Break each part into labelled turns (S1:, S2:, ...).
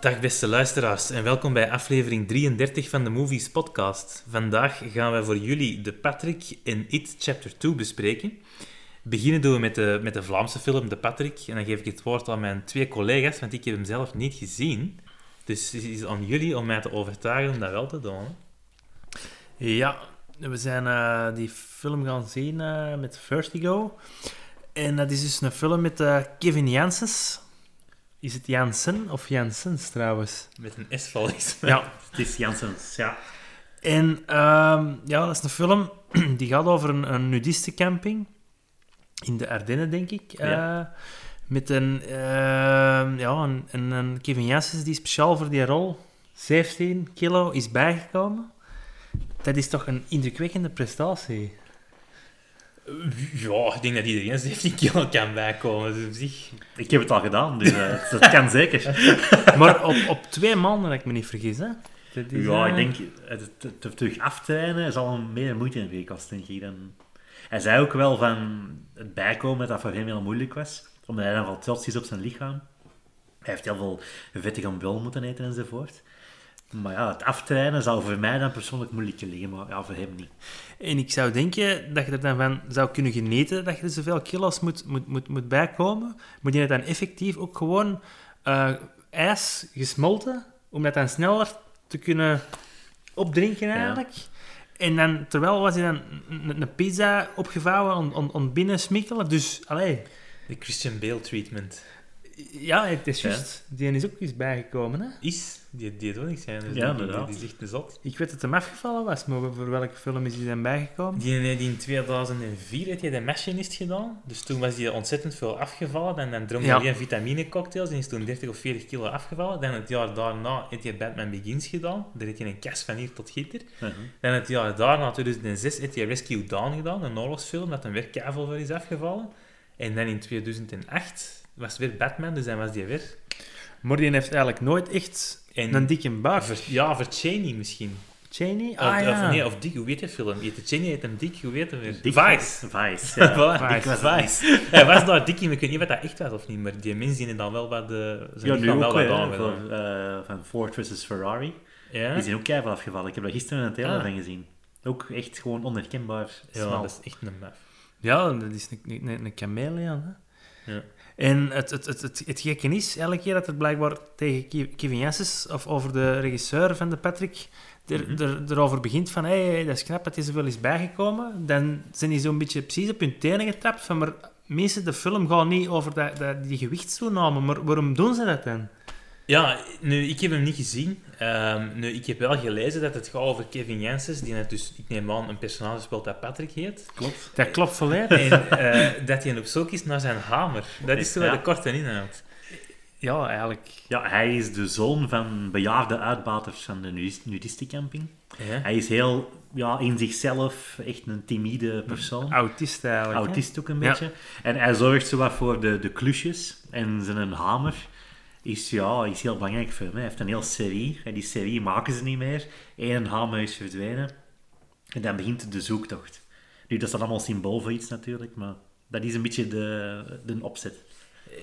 S1: Dag beste luisteraars en welkom bij aflevering 33 van de Movies Podcast. Vandaag gaan wij voor jullie de Patrick en It Chapter 2 bespreken. Beginnen doen we met de, met de Vlaamse film De Patrick. En dan geef ik het woord aan mijn twee collega's, want ik heb hem zelf niet gezien. Dus het is aan jullie om mij te overtuigen om dat wel te doen.
S2: Ja, we zijn eh, die film gaan zien eh, met Vertigo. En dat is dus een film met eh, Kevin Janssens. Is het Janssen of Janssens trouwens?
S1: Met een S volgens mij.
S2: Ja.
S3: Het is Janssens, ja.
S2: En ehm, ja, dat is een film die gaat over een, een nudistencamping. In de Ardennen, denk ik. eh, met een, ehm, ja, een, een, een Kevin Janssens die speciaal voor die rol 17 kilo is bijgekomen. Dat is toch een indrukwekkende prestatie.
S1: Ja, ik denk dat iedereen 17 kilo kan bijkomen. Dus op zich...
S3: Ik heb het al gedaan, dus eh, dat kan zeker.
S2: Maar op, op twee maanden, dat ik me niet vergis, hè? Dat is,
S3: Ja,
S2: eh,
S3: ik denk, het, het- het terug aftrainen zal hem meer moeite hebben gekost, denk ik. Dan. Hij zei ook wel van het bijkomen dat dat voor hem heel moeilijk was, omdat hij dan wel trots is op zijn lichaam. Hij heeft heel veel vettig bul moeten eten enzovoort. Maar ja, het aftrainen zou voor mij dan persoonlijk moeilijk liggen, maar ja, voor hem niet.
S2: En ik zou denken dat je er dan van zou kunnen genieten dat je er zoveel kilo's moet, moet, moet, moet bijkomen. Moet je het dan effectief ook gewoon eh, ijs gesmolten, om dat dan sneller te kunnen opdrinken eigenlijk. En dan, terwijl was hij dan een- een, een pizza opgevouwen om, om, om binnen smikkelen. Dus, allee,
S1: De Christian Bale treatment.
S2: ja, het is
S3: Ja.
S2: juist. Die is ook eens bijgekomen, hè.
S1: Is... Die, die doet niks zijn. Dus
S3: Ja,
S1: die, die,
S3: inderdaad.
S1: die is echt een zot.
S2: Ik weet dat hem afgevallen was, maar voor welke film is hij dan bijgekomen?
S1: Die, die in 2004 heeft hij de machinist gedaan. Dus toen was hij ontzettend veel afgevallen. En dan dronk hij
S2: Ja.
S1: alleen vitaminecocktails en is toen 30 of 40 kilo afgevallen. Dan het jaar daarna heeft hij Batman Begins gedaan. Daar heeft hij een kast van hier tot gitter.
S3: Uh-huh.
S1: Dan het jaar daarna, 2006, heeft hij Rescue Dawn gedaan. Een oorlogsfilm dat een weer kavel voor is afgevallen. En dan in 2008 was weer Batman, dus dan was hij weer...
S2: Maar die heeft eigenlijk nooit echt
S1: En
S2: een dikke baard.
S1: Ver- ja, voor Cheney misschien.
S2: Cheney?
S1: Of-
S2: Ah,
S1: of,
S2: ja.
S1: nee, of Dick, hoe heet de film? Heet de Cheney heet hem Dick, hoe heet hem weer?
S3: Dick-
S1: Vice.
S3: Vice,
S1: Ja,
S3: ja.
S1: voilà,
S2: Vice.
S1: ik was Vice. Hij was daar dik in, ik weet niet wat dat echt was of niet, maar die mensen zien dan wel wat de...
S3: Ja, nu
S1: dan
S3: ook
S1: wel
S3: weer,
S1: wat
S3: hè,
S1: aan gedaan.
S3: van, eh, van Ford versus Ferrari.
S1: Ja?
S3: Die zijn ook keihard afgevallen. Ik heb daar gisteren een trailer
S1: Ah.
S3: van gezien. Ook echt gewoon onherkenbaar
S1: ja,
S3: smal.
S1: dat is echt een maf.
S2: Ja, dat is een, een, een- een chameleon. Hè?
S1: Ja.
S2: En het, het, het, het, het gekke is, elke keer dat er blijkbaar tegen Ki- Kevin Janssens of over de regisseur van de Patrick er,
S3: Mhm.
S2: er, erover begint van hé, hey, dat is knap, dat is er wel eens bijgekomen, dan zijn die zo'n beetje precies op hun tenen getrapt van maar mensen, de film gaat niet over dat, dat, die gewichtstoename, maar waarom doen ze dat dan?
S1: Ja, nu, ik heb hem niet gezien. Ehm, nu, ik heb wel gelezen dat het gaat over Kevin Janssens, die net dus, ik neem aan, een personage speelt dat Patrick heet.
S3: Klopt.
S2: Dat klopt volledig.
S1: En eh, dat hij op zoek is naar zijn hamer. Dat is zo wat
S3: Ja.
S1: de korte inhoud.
S2: Ja, eigenlijk.
S3: Ja, hij is de zoon van bejaarde uitbaters van de nudis- nudistencamping.
S1: Ja.
S3: Hij is heel ja, in zichzelf echt een timide persoon.
S2: Autist eigenlijk. hè?
S3: Autist ook een
S2: Ja.
S3: beetje. En hij zorgt zowat voor de, de klusjes. En zijn hamer is, ja, is heel belangrijk voor hem. Hij heeft een heel serie. En die serie maken ze niet meer. Eén hamer is verdwenen. En dan begint de zoektocht. Nu, dat staat allemaal symbool voor iets natuurlijk. Maar dat is een beetje de, de opzet.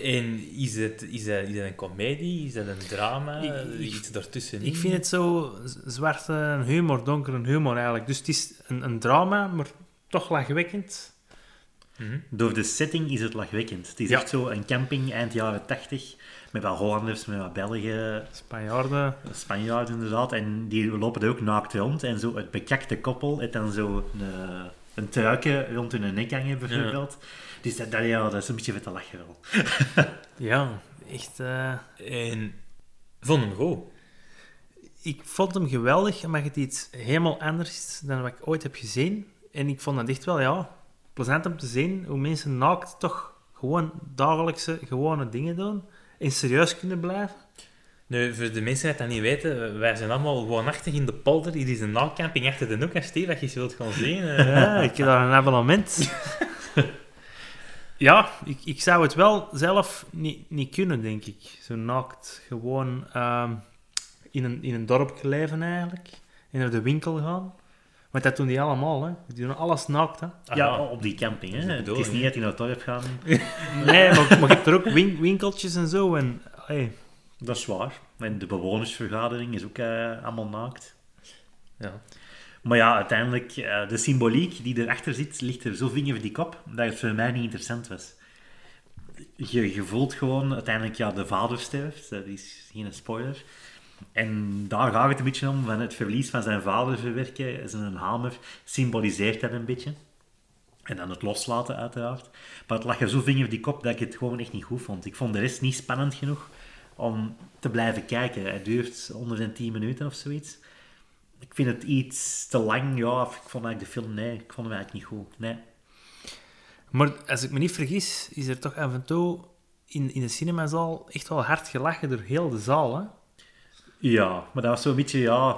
S1: En is het is dat, is dat een komedie? Is dat een drama?
S2: Ik- ik-
S1: Iets daartussen?
S2: Ik vind het zo z- zwarte humor, donkere humor eigenlijk. Dus het is een, een drama, maar toch lachwekkend.
S3: Door de setting is het lachwekkend. Het is
S2: Ja.
S3: echt zo een camping eind jaren 80. Met wat Hollanders, met wat Belgen,
S2: Spanjaarden.
S3: Spanjaarden inderdaad. En die lopen er ook naakt rond. En zo het bekakte koppel heeft dan zo een, eh, een truikje rond hun nek hangen bijvoorbeeld. Dus dat, dat, ja, dat is een beetje met de lachen wel.
S2: Ja, echt. eh,
S1: En vond hem goed.
S2: ik vond hem geweldig, maar het iets helemaal anders is dan wat ik ooit heb gezien. En ik vond dat echt wel, ja, plezant om te zien hoe mensen naakt toch gewoon dagelijkse, gewone dingen doen. En serieus kunnen blijven.
S1: Nu, voor de mensen die dat niet weten, wij zijn allemaal woonachtig in de polder. Hier is een naaldcamping achter de hoek. Als Steve dat je eens wilt gaan zien... eh.
S2: Ja, ik heb daar een abonnement. ja, ik, ik zou het wel zelf niet, niet kunnen, denk ik. Zo naakt, gewoon ehm, in, een, in een dorp leven eigenlijk. En naar de winkel gaan. Want dat doen die allemaal, hè. Die doen alles naakt, hè.
S1: Aha.
S3: Ja, op die camping. Hè.
S1: Ah, Dat is de
S3: Het
S1: bedoeling,
S3: is niet
S1: hè.
S3: dat je naar het dorp gaan.
S2: Nee, maar, maar je hebt er ook win- winkeltjes en zo. En, allee,
S3: Dat is waar. En de bewonersvergadering is ook eh, allemaal naakt.
S1: Ja.
S3: Maar ja, uiteindelijk, eh, de symboliek die erachter zit, ligt er zo vinger voor die kop, dat het voor mij niet interessant was. Je, je voelt gewoon, uiteindelijk, ja, de vader sterft, dat is geen spoiler. En daar gaat het een beetje om, van het verlies van zijn vader verwerken, zijn hamer, symboliseert dat een beetje. En dan het loslaten, uiteraard. Maar het lag er zo vinger op die kop dat ik het gewoon echt niet goed vond. Ik vond de rest niet spannend genoeg om te blijven kijken. Het duurt 110 minuten of zoiets. Ik vind het iets te lang, ja. of Ik vond eigenlijk de film, nee, ik vond hem eigenlijk niet goed. Nee.
S2: Maar als ik me niet vergis, is er toch af en toe in, in de cinemazaal echt wel hard gelachen door heel de zaal. Hè?
S3: Ja, maar dat was zo'n beetje, ja...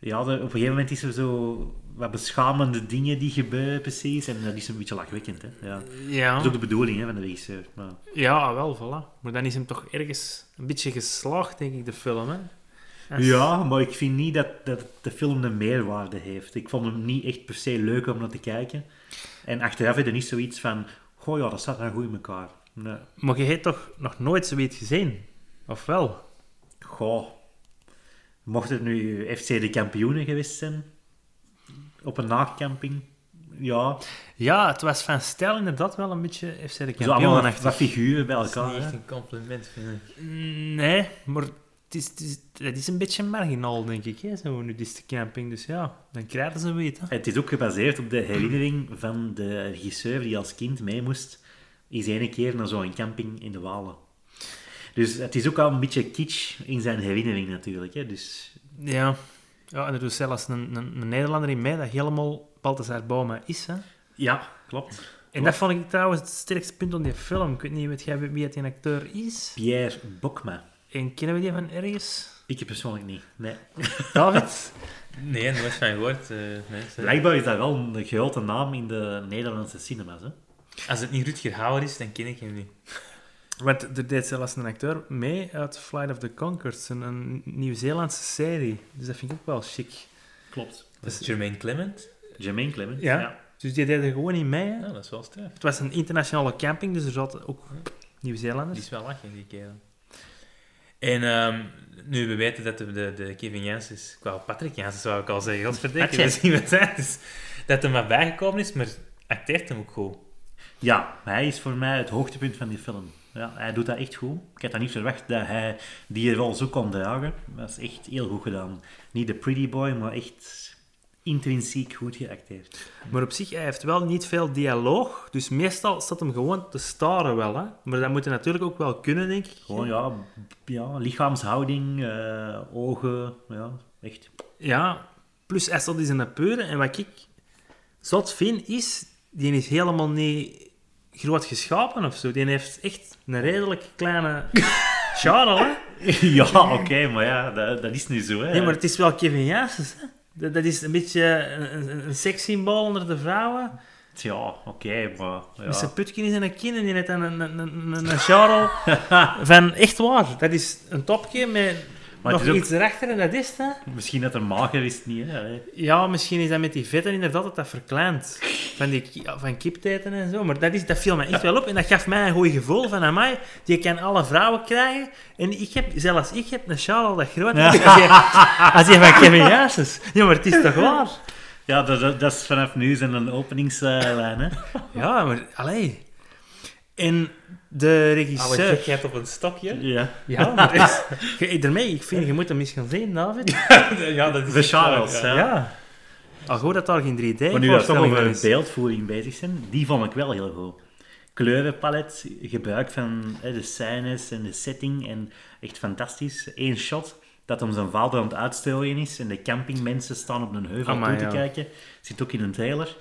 S3: Ja, er- op een gegeven moment is er zo wat beschamende dingen die gebeuren, precies. En dat is een beetje lachwekkend, hè. Ja. Dat is
S2: Ja.
S3: ook de bedoeling hè, van de regisseur. Maar...
S2: ja, wel, voilà. Maar dan is hem toch ergens een beetje geslaagd, denk ik, de film. Hè? Als-
S3: Ja, maar ik vind niet dat, dat de film een meerwaarde heeft. Ik vond hem niet echt per se leuk om naar te kijken. En achteraf heb je niet zoiets van... Goh, ja, dat staat nou goed in elkaar. Nee.
S2: Maar je hebt toch nog nooit zoiets gezien? Of wel?
S3: Goh. Mocht het nu FC de kampioenen geweest zijn? Op een nachtcamping? Ja.
S2: Ja, het was van stijl inderdaad wel een beetje FC de
S3: Zo allemaal
S2: kampioen.
S3: wat, wat figuren bij
S1: Dat is
S3: elkaar.
S1: niet echt
S3: hè.
S1: een compliment, vind ik.
S2: Mm, Nee, maar het is, het, is, het is een beetje marginaal, denk ik. Hè? Zo'n nudiste camping. Dus ja, dan krijgen ze weet. Hè?
S3: Het is ook gebaseerd op de herinnering van de regisseur die als kind mee moest eens ene keer naar zo'n camping in de Walen. Dus het is ook al een beetje kitsch in zijn herinnering natuurlijk. Hè? Dus
S2: Ja. ja, en er doet zelfs een, een, een Nederlander in mij dat helemaal Balthazar Boma is. Hè?
S3: ja, klopt.
S2: En dat vond ik trouwens het sterkste punt van die film. Ik weet niet weet jij wie dat die acteur is.
S3: Pierre Bokma.
S2: En kennen we die van ergens?
S3: Ik persoonlijk niet. Nee.
S2: David?
S1: Nee, nooit van gehoord. eh, nee, sorry.
S3: Blijkbaar is dat wel een grote naam in de Nederlandse cinema's. Hè?
S1: Als het niet Rutger Hauer is, dan ken ik hem niet.
S2: Want er deed zelfs een acteur mee uit Flight of the Conchords, een, een Nieuw-Zeelandse serie. Dus dat vind ik ook wel chic.
S3: Klopt.
S1: Dat is Jermaine Clement.
S3: Jermaine Clement.
S2: Ja.
S3: Ja.
S2: Dus die deed er gewoon in mee. Hè?
S1: Ja, dat is wel sterk.
S2: Het was een internationale camping, dus er zaten ook
S1: Die
S2: Nieuw-Zeelanders.
S1: is wel lachen, die kerel. En ehm, nu we weten dat de, de, de Kevin Janssens, qua Patrick Janssens zou ik al zeggen, godverdikke,
S2: Patje.
S1: we zien wat het is. Dat hem maar bijgekomen is, maar acteert hem ook goed.
S3: Ja, hij is voor mij het hoogtepunt van die film. Ja, hij doet dat echt goed. Ik had dat niet verwacht dat hij die rol zo kon dragen. Dat is echt heel goed gedaan. Niet de pretty boy, maar echt intrinsiek goed geacteerd.
S2: Maar op zich, hij heeft wel niet veel dialoog. Dus meestal staat hem gewoon te staren wel. Hè? Maar dat moet hij natuurlijk ook wel kunnen, denk ik.
S3: Gewoon, ja, ja lichaamshouding, eh, ogen, ja, echt.
S2: Ja, plus hij staat in zijn peuren. En wat ik zot vind, is... Die is helemaal niet groot geschapen of zo. Die heeft echt een redelijk kleine charel, hè?
S3: ja, oké, maar ja, dat, dat is nu zo, hè.
S2: Nee, maar het is wel Kevin Janssens, hè? Dat, dat is een beetje een, een, een sekssymbool onder de vrouwen. Dus
S3: Ja, oké, maar... Ja.
S2: Met zijn putkin in zijn kin en die net een, een, een, een, een- een charol van echt waar. Dat is een topje met
S3: Maar het
S2: nog
S3: is ook-
S2: iets erachter en dat is het. Hè?
S3: Misschien dat er mager is, het niet, hè.
S2: Ja, misschien is dat met die vetten inderdaad dat dat verkleint. Van, die, ki- van kiptijden en zo. Maar dat, is, dat viel me echt wel op en dat gaf mij een goed gevoel van mij. Je kan alle vrouwen krijgen. En ik heb, zelfs ik heb een charol dat groot is als die- als die van Kevin Janssens. Ja, maar het is toch waar?
S3: Ja, dat, dat, dat is vanaf nu zijn een openingslijn, hè.
S2: Ja, maar allee. En de
S1: Alle
S3: eh,
S2: regisseur.
S1: gekheid op een stokje.
S3: Ja.
S2: Ja, maar is, je, daarmee, ik vind, je moet hem eens gaan zien, David. Ja.
S1: ja, dat is
S3: De
S1: echt waar,
S3: Charles, ja.
S2: Al goed dat daar geen 3 d
S3: Maar nu dat we toch
S2: voorstelling
S3: over
S2: van
S3: een
S2: is.
S3: beeldvoering bezig zijn, die vond ik wel heel goed. Kleurenpalet, gebruik van hè, de scènes en de setting, en echt fantastisch. Eén shot dat om zijn vader aan het uitstrooien is en de campingmensen staan op een heuvel
S2: Amai,
S3: toe te
S2: ja.
S3: kijken. Zit ook in een trailer.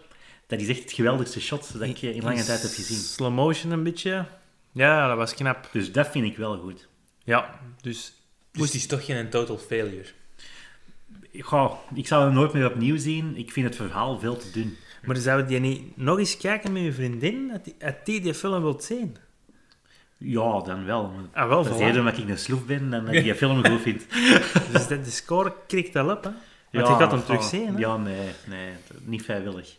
S3: Dat is echt het geweldigste shot dat ik eh, in lange tijd heb gezien.
S2: Dus Slow motion een beetje. Ja, dat was knap.
S3: Dus dat vind ik wel goed.
S2: Ja, dus...
S1: Dus die is toch geen total failure.
S3: Goh, ik zou hem nooit meer opnieuw zien. Ik vind het verhaal veel te dun.
S2: Maar zou je niet nog eens kijken met je vriendin? Dat die, dat die die film wilt zien?
S3: Ja, dan wel. maar
S2: Ah, wel,
S3: Dat is
S2: voilà.
S3: eerder omdat ik een sloef ben dan dat ik die film goed vind.
S2: Dus dat, de score krikt al op, hè. Want je gaat hem
S3: goh,
S2: terug zien, hè.
S3: Ja, nee, nee, t- niet vrijwillig.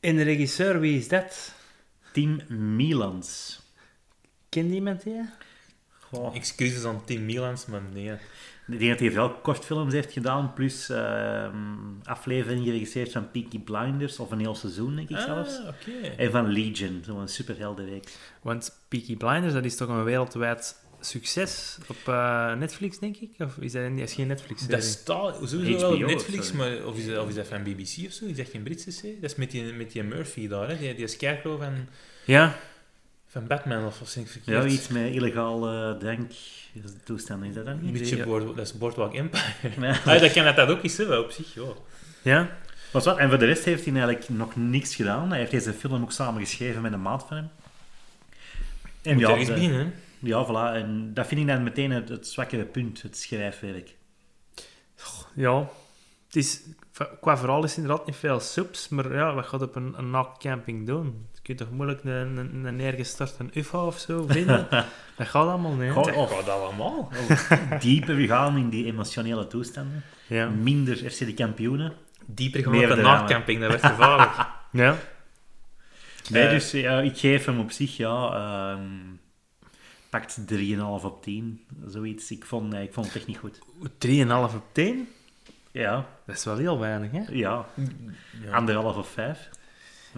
S2: En de regisseur, wie is dat?
S3: Tim Milans.
S2: Kent iemand die?
S3: Goh, Goh.
S1: Excuses aan Tim Milans, maar nee.
S3: Ik denk dat hij veel kortfilms heeft gedaan, plus ehm, afleveringen geregisseerd van Peaky Blinders, of een heel seizoen, denk ik zelfs.
S1: Ah, oké.
S3: En van Legion, zo'n superheldenreeks.
S2: Want Peaky Blinders, dat is toch een wereldwijd succes op eh, Netflix, denk ik? Of is dat, dat is geen netflix
S1: Dat staat sowieso wel op
S3: HBO of
S1: Netflix,
S3: zo.
S1: maar of is, dat, of is dat van BBC of zo? Is dat geen Britse serie? Dat is met die, met die Murphy daar, hè? Die, die Scarecrow van,
S2: Ja,
S1: van Batman of, of zin ik
S3: Ja,
S1: verkeerd.
S3: iets met illegale dranktoestanden, is dat dan
S1: Een
S3: niet?
S1: beetje
S2: Ja.
S1: board, dat is Boardwalk Empire.
S3: Ja.
S1: Ah, dat kan dat, dat ook is, hè, wel, op zich. Ja.
S2: ja.
S3: Maar wat, en voor de rest heeft hij eigenlijk nog niks gedaan. Hij heeft deze film ook samen geschreven met een maat van hem. En
S1: Moet
S3: ja,
S1: ergens
S3: de-
S1: beginnen, hè.
S3: ja, voilà. En dat vind ik dan meteen het, het zwakkere punt, het schrijfwerk.
S2: Ja. Het is, qua verhaal is het inderdaad niet veel soeps, maar ja, wat gaat op een, een nachtcamping doen? Je kunt toch moeilijk een, een, een neergestort een UFO of zo vinden? dat gaat allemaal niet. hè?
S3: Goh.
S1: Dat
S3: Of-
S1: gaat allemaal.
S3: Dieper we gaan in die emotionele toestanden.
S2: Ja.
S3: Minder FC de kampioenen.
S1: Dieper gaan
S3: Meer
S1: op de
S3: drama.
S1: nachtcamping, dat werd gevaarlijk.
S2: ja.
S3: Nee,
S1: Eh.
S3: dus ja, ik geef hem op zich, ja... ehm, pakt 3,5 op 10. Zoiets. Ik vond, nee, ik vond het echt niet goed.
S2: 3,5 op 10?
S3: Ja,
S2: Dat is wel heel weinig, hè?
S3: ja. Anderhalf of vijf.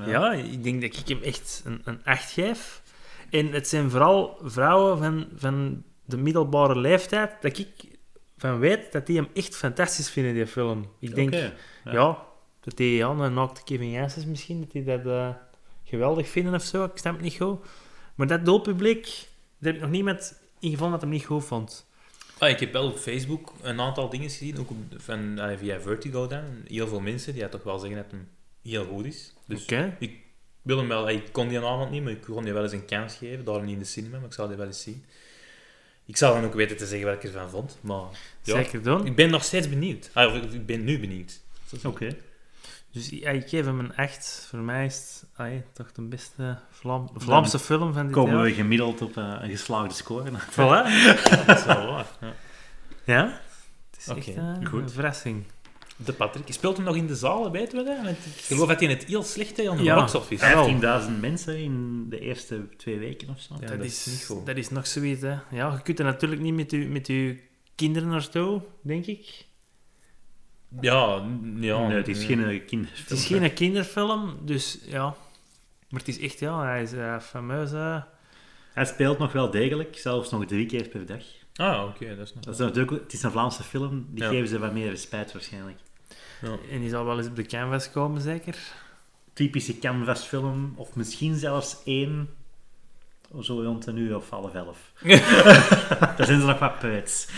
S2: Ja, ik denk dat ik hem echt een, een 8 geef. En het zijn vooral vrouwen van, van de middelbare leeftijd dat ik van weet dat die hem echt fantastisch vinden, die film. Ik denk,
S3: Oké.
S2: ja. dat die ja, een naakte Kevin Janssens misschien, dat die dat eh, geweldig vinden of zo, ik snap het niet goed. Maar dat doelpubliek, daar heb ik nog niemand in gevonden dat hem niet goed vond.
S1: Ah, ik heb wel op Facebook een aantal dingen gezien, ook op- van, allee, via Vertigo dan. Heel veel mensen die toch wel zeggen dat hem heel goed is. Dus
S2: Oké.
S1: ik wil hem wel, ik kon die avond niet, maar ik kon die wel eens een kans geven. Daarom niet in de cinema, maar ik zou die wel eens zien. Ik zal dan ook weten te zeggen wat ik ervan vond, maar Ja.
S2: Zeker doen.
S1: ik ben nog steeds benieuwd. Ah, of ik- ik ben nu benieuwd.
S3: Oké.
S2: Dus ja, ik geef hem een 8. Voor mij is het ai, toch de beste Vlaam, Vlaamse film van dit
S3: Komen
S2: jaar.
S3: we gemiddeld op eh, een geslaagde score.
S2: Voilà.
S1: Dat is wel waar. Ja.
S2: Ja? Het is
S1: Oké,
S2: echt eh,
S3: goed.
S2: een verrassing.
S1: De Patrick. Speelt hem nog in de zaal, weten we dat? Want ik geloof dat hij het heel slecht deed aan de
S2: Ja.
S1: box office.
S2: Ja.
S3: 15.000 mensen in de eerste twee weken of zo.
S1: Ja, dat is niet goed.
S2: Dat is nog zoiets, hè. Ja, je kunt er natuurlijk niet met je, met je kinderen naartoe, denk ik.
S1: Ja, n- ja.
S3: nee, het is geen eh,
S2: Het is
S3: kinderfilm.
S2: geen kinderfilm, dus ja. Maar het is echt, ja, hij is eh fameus. eh.
S3: Hij speelt nog wel degelijk, zelfs nog drie keer per dag.
S1: Ah, oké, dat is nog...
S3: Dat is natuurlijk, het is een Vlaamse film, die
S1: Ja.
S3: geven ze wat meer spijt waarschijnlijk.
S2: En die zal wel eens op de canvas komen, zeker.
S3: Typische canvasfilm, of misschien zelfs één, oh, zo rond een uur of half elf. Daar zijn ze nog wat preuts.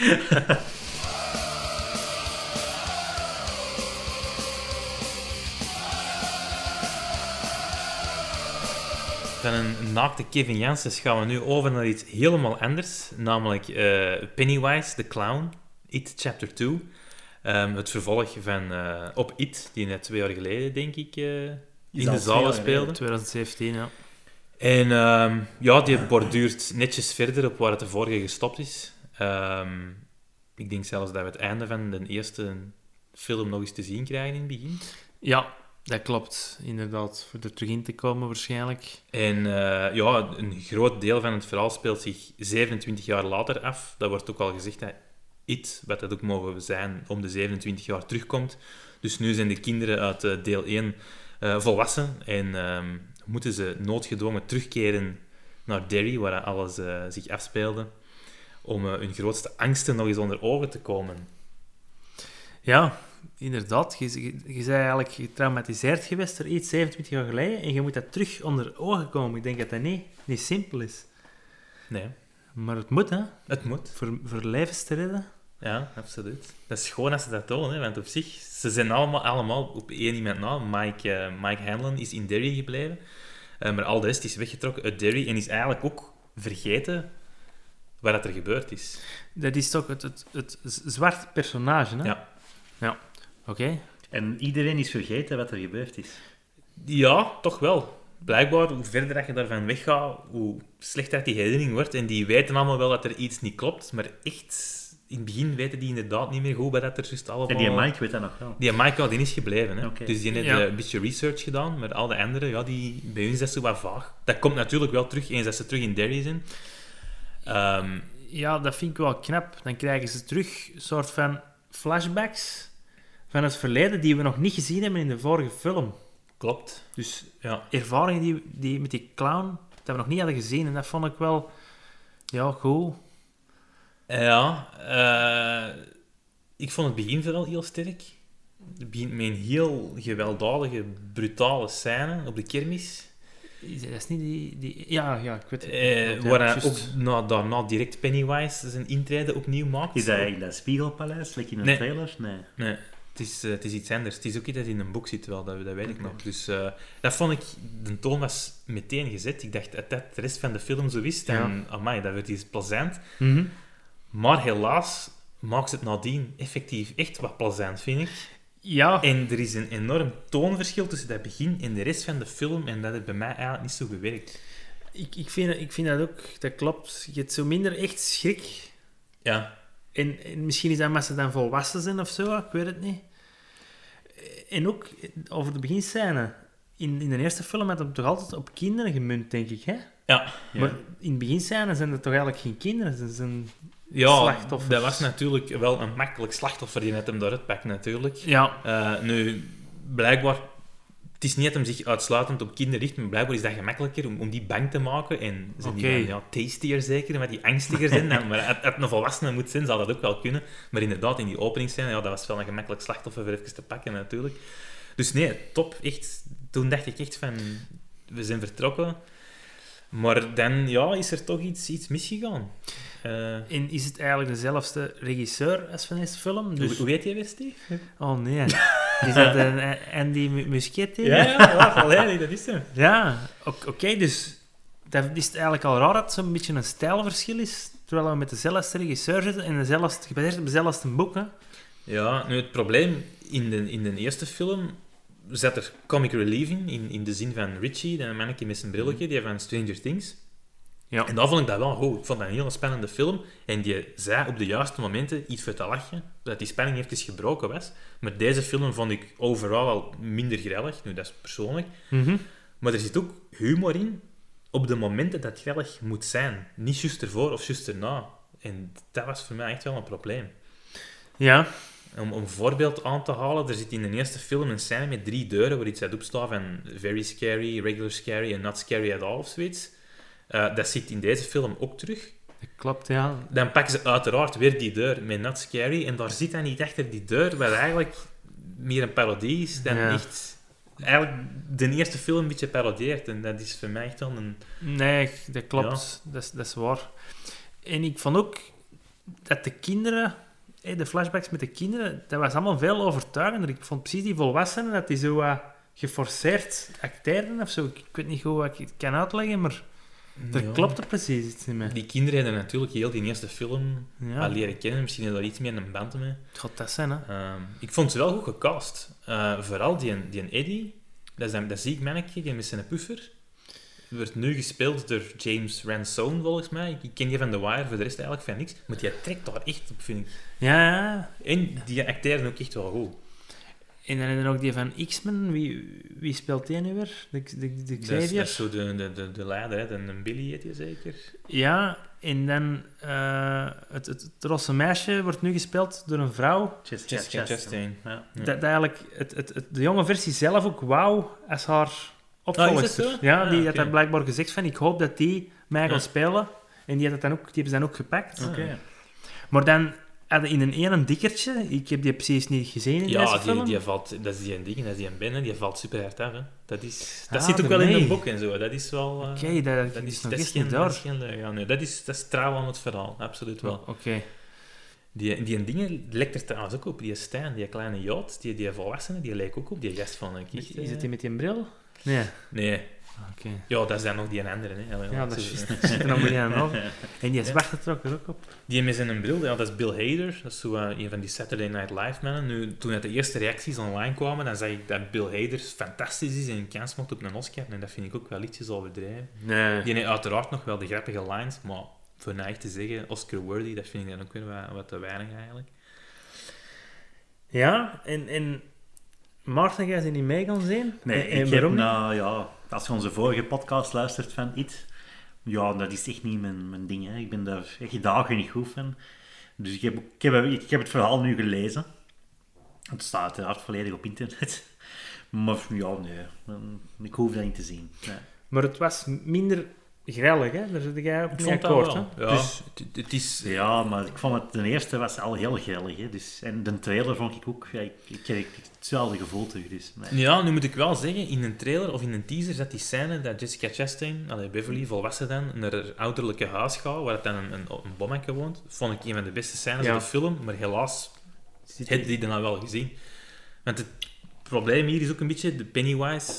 S1: Van een naakte Kevin Janssens gaan we nu over naar iets helemaal anders, namelijk eh, Pennywise the Clown, It Chapter 2. Ehm, het vervolg van eh, op It, die net twee jaar geleden, denk ik, eh,
S3: Is
S1: in
S3: al
S1: de zalen
S3: twee jaar
S1: speelde.
S2: 2017, ja.
S1: En ehm, ja, die
S3: Ah.
S1: borduurt netjes verder op waar het de vorige gestopt is. Ehm, ik denk zelfs dat we het einde van de eerste film nog eens te zien krijgen in het begin.
S2: Ja, dat klopt, inderdaad. Voor er terug in te komen, waarschijnlijk.
S1: En eh, ja, een groot deel van het verhaal speelt zich 27 jaar later af. Dat wordt ook al gezegd dat It, wat dat ook mogen zijn, om de 27 jaar terugkomt. Dus nu zijn de kinderen uit eh, deel 1 eh, volwassen en ehm, moeten ze noodgedwongen terugkeren naar Derry, waar alles eh, zich afspeelde, om eh, hun grootste angsten nog eens onder ogen te komen.
S2: Ja, inderdaad. Je, je, je bent eigenlijk getraumatiseerd geweest door iets 27 jaar geleden en je moet dat terug onder ogen komen. Ik denk dat dat niet, niet simpel is.
S1: Nee,
S2: Maar het moet, hè?
S1: het moet.
S2: Voor, voor levens te redden.
S1: Ja, absoluut. Dat is gewoon als ze dat tonen, hè, want op zich, ze zijn allemaal, allemaal op één iemand na. Mike, eh, Mike Hanlon is in Derry gebleven, Eh, maar al de rest is weggetrokken uit Derry en is eigenlijk ook vergeten wat dat er gebeurd is.
S2: Dat is toch het, het, het z- zwart personage, hè?
S1: Ja.
S2: Ja. Oké.
S3: En iedereen is vergeten wat er gebeurd is.
S1: Ja, toch wel. Blijkbaar, hoe verder dat je daarvan weggaat, hoe slechter dat die herinnering wordt. En die weten allemaal wel dat er iets niet klopt, maar echt, in het begin weten die inderdaad niet meer goed wat dat er juist allemaal...
S3: En die Mike weet dat nog wel.
S1: Die Michael, die is gebleven. Hè?
S3: Oké.
S1: Dus die heeft
S2: Ja.
S1: eh, een beetje research gedaan, maar al de anderen, ja, die, bij hun is dat zo wat vaag. Dat komt natuurlijk wel terug eens dat ze terug in Derry zijn. Ehm,
S2: ja, dat vind ik wel knap. Dan krijgen ze terug een soort van flashbacks van het verleden die we nog niet gezien hebben in de vorige film.
S1: Klopt.
S2: Dus
S1: Ja.
S2: ervaringen die, die met die clown, dat we nog niet hadden gezien. En dat vond ik wel, ja, cool.
S1: Ja, eh, ik vond het begin vooral heel sterk. Het begint met een heel gewelddadige, brutale scène op de kermis.
S2: Is- Dat is niet die... die ja, ja, ik weet het.
S1: eh,
S2: Ja,
S1: waar hij
S2: juist.
S1: ook na, daarna direct Pennywise zijn intrede opnieuw maakt.
S3: Is dat eigenlijk dat Spiegelpaleis? Lekker in een
S1: Nee.
S3: trailer? Nee.
S1: Nee, het is, eh, het is iets anders. Het is ook iets dat in een boek zit, wel, dat, dat weet ik nog. Dus eh, dat vond ik, de toon was meteen gezet. Ik dacht, dat dat de rest van de film zo is, dan,
S2: Ja.
S1: amai, dat werd iets plezant.
S2: Mhm.
S1: Maar helaas maakt het nadien effectief echt wat plezant, vind ik.
S2: Ja,
S1: En er is een enorm toonverschil tussen dat begin en de rest van de film. En dat heeft bij mij eigenlijk niet zo gewerkt.
S2: ik, ik, vind, ik vind dat ook, dat klopt. Je hebt zo minder echt schrik.
S1: Ja,
S2: En, en misschien is dat omdat ze dan volwassen zijn of zo, ik weet het niet. En ook eh, over de beginscène. In, in de eerste film had hem toch altijd op kinderen gemunt, denk ik, hè?
S1: ja.
S3: Ja.
S2: Maar in de beginscène zijn er toch eigenlijk geen kinderen? Ze zijn...
S1: ja
S2: Slachtoffers.
S1: dat was natuurlijk wel een makkelijk slachtoffer die net hem daaruit pakt, natuurlijk.
S2: Ja.
S1: Eh, nu, blijkbaar... Het is niet dat hem zich uitsluitend op kinderen richt, maar blijkbaar is dat gemakkelijker om, om die bang te maken. En zijn
S2: Oké.
S1: die dan, ja, tastier zeker, maar die angstiger zijn. Dan, maar het, het een volwassene moet zijn, zal dat ook wel kunnen. Maar inderdaad, in die openingsscène, ja, dat was wel een gemakkelijk slachtoffer voor even te pakken, natuurlijk. Dus nee, top. Echt, toen dacht ik echt van, we zijn vertrokken. Maar dan, ja, is er toch iets, iets misgegaan. Eh,
S2: En is het eigenlijk dezelfde regisseur als van deze film?
S1: hoe,
S2: Dus...
S1: hoe weet jij weer, Steve?
S2: Oh nee. Is dat een eh, Andy Muschietti?
S1: Ja, ja, ja, volledig, dat is hem.
S2: Ja, o- oké, dus dat is het eigenlijk al raar dat het zo'n beetje een stijlverschil is, terwijl we met dezelfde regisseur zitten en dezelfde, gebaseerd op dezelfde boeken.
S1: Ja, nu het probleem in de, in de eerste film zat er comic relief in, in, in de zin van Richie, dat mannetje met zijn brilletje, die van Stranger Things.
S2: Ja.
S1: En dan vond ik dat wel goed. Ik vond dat een heel spannende film. En die zei op de juiste momenten iets voor te lachen, dat die spanning eventjes gebroken was. Maar deze film vond ik overal al minder grellig, nu dat is persoonlijk.
S2: Mhm.
S1: Maar er zit ook humor in op de momenten dat het grellig moet zijn. Niet juist ervoor of juist erna. En dat was voor mij echt wel een probleem.
S2: Ja,
S1: Om om een voorbeeld aan te halen, er zit in de eerste film een scène met drie deuren waar iets uit opstaat van very scary, regular scary en not scary at all of zoiets. Eh, dat zit in deze film ook terug.
S2: dat klopt, ja.
S1: Dan pakken ze uiteraard weer die deur met not scary en daar zit dan niet achter die deur, wat eigenlijk meer een parodie is dan
S2: Ja.
S1: echt... Eigenlijk de eerste film een beetje parodieert en dat is voor mij echt wel een...
S2: Nee, dat klopt, dat, is, dat is waar. En ik vond ook dat de kinderen, hé, de flashbacks met de kinderen, dat was allemaal veel overtuigender. Ik vond precies die volwassenen, dat die zo wat geforceerd acteerden of zo. Ik weet niet goed wat ik het kan uitleggen, maar er
S1: Ja.
S2: klopte precies iets in mij.
S1: Die kinderen hebben natuurlijk heel die eerste film
S2: Ja.
S1: al leren kennen, misschien hebben daar iets meer een band mee.
S2: Het gaat dat zijn, hè?
S1: Ehm, ik vond ze wel goed gecast. Eh, vooral die, die Eddie, dat, is een- dat zie ik mannetje, die met zijn puffer. Wordt nu gespeeld door James Ransone, volgens mij. Ik- Ik ken die van The Wire, voor de rest eigenlijk van niks. Maar die trekt daar echt op, vind ik.
S2: Ja, ja.
S1: En die acteerde ook echt wel goed.
S2: En dan hebben we ook die van X-Men. Wie, wie speelt die nu weer? De, de,
S1: Dat
S2: de
S1: is, dat is
S2: Xavier?
S1: zo de, de, de, de leider, hè. De, de Billy heet die zeker.
S2: Ja, en dan... eh, het, het, het rosse meisje wordt nu gespeeld door een vrouw.
S3: Chest,
S1: Jessica Chastain.
S3: Ja.
S1: Ja.
S2: Dat, dat eigenlijk het, het, het- de jonge versie zelf ook wauw als haar opvolgster.
S1: Ah, is dat zo?
S2: Ja,
S1: Ah,
S2: die had
S1: oké.
S2: daar blijkbaar gezegd van ik hoop dat die mij
S1: Ja.
S2: gaat spelen. En die, had het dan ook, die hebben ze dan ook gepakt.
S1: Ah.
S3: Oké.
S2: Maar dan hadden in een ene een dikkertje. Ik heb die precies niet gezien in deze
S1: Ja, die,
S2: film.
S1: die valt, dat is die een ding, dat is die een binnen, die valt super hard af. Hè. Dat, is, dat
S2: Ah,
S1: zit ook wel in
S2: daarmee.
S1: een boek en zo. Dat is wel. eh,
S2: Oké, dat, dat,
S1: Dat is,
S2: is
S1: dat
S2: nog
S1: is
S2: eens
S1: geen,
S2: niet
S1: dat is
S2: door.
S1: geen leugen. Ja, nee, dat is, dat is trouw aan het verhaal, absoluut wel.
S2: Oké.
S1: Die, die dingen lekt er trouwens ook op. Die Stijn, die kleine Jood, die, die volwassenen, die lijken ook op die gast van een
S2: Is, is het die met die bril? Nee.
S1: Nee.
S2: Oké.
S1: Ja, dat is dan nog die een andere. Hè. Allee,
S2: Ja, dat
S1: zo-
S2: is juist. Zit er nog maar niet aan over. En die zwarte trok er ook op.
S1: Die met zijn bril, ja, dat is Bill Hader. Dat is zo, eh, een van die Saturday Night Live mannen. Nu, toen uit de eerste reacties online kwamen, dan zei ik dat Bill Hader fantastisch is en een kans mocht op een Oscar. En dat vind ik ook wel ietsjes overdreven.
S2: Nee.
S1: Die heeft uiteraard nog wel de grappige lines, maar voor mij echt te zeggen, Oscar-worthy, dat vind ik dan ook weer wat, wat te weinig eigenlijk.
S2: Ja, en, en Maarten, jij ze niet mee gaan zien?
S3: Nee,
S2: en, en
S3: ik heb
S2: waarom?
S3: nou ja, als je onze vorige podcast luistert van iets, Ja, dat is echt niet mijn, mijn ding. Hè. Ik ben daar echt dagen niet goed van. Dus ik heb, ik, heb, ik heb het verhaal nu gelezen. Het staat uiteraard volledig op internet. Maar ja, nee. dan- Ik hoef dat niet te zien. Nee.
S2: Maar het was minder grellig, hè? Daar zit jij op
S1: Ik
S2: niet
S1: vond dat
S2: akkoord, hè?
S1: wel. Ja,
S3: Dus-
S1: het, het is...
S3: Ja, maar ik vond het... De eerste was al heel grillig. Hè. Dus, en de trailer vond ik ook... Ja, ik, ik kreeg hetzelfde gevoel terug. Dus, nee.
S1: Ja, nu moet ik wel zeggen, in een trailer of in een teaser zat die scène dat Jessica Chastain, allee, Beverly, volwassen dan, naar haar ouderlijke huis gaat, waar het dan een, een, een bommetje woont. Vond ik een van de beste scènes
S2: Ja.
S1: van de film, maar helaas heb je die dan wel gezien. Want het probleem hier is ook een beetje, de Pennywise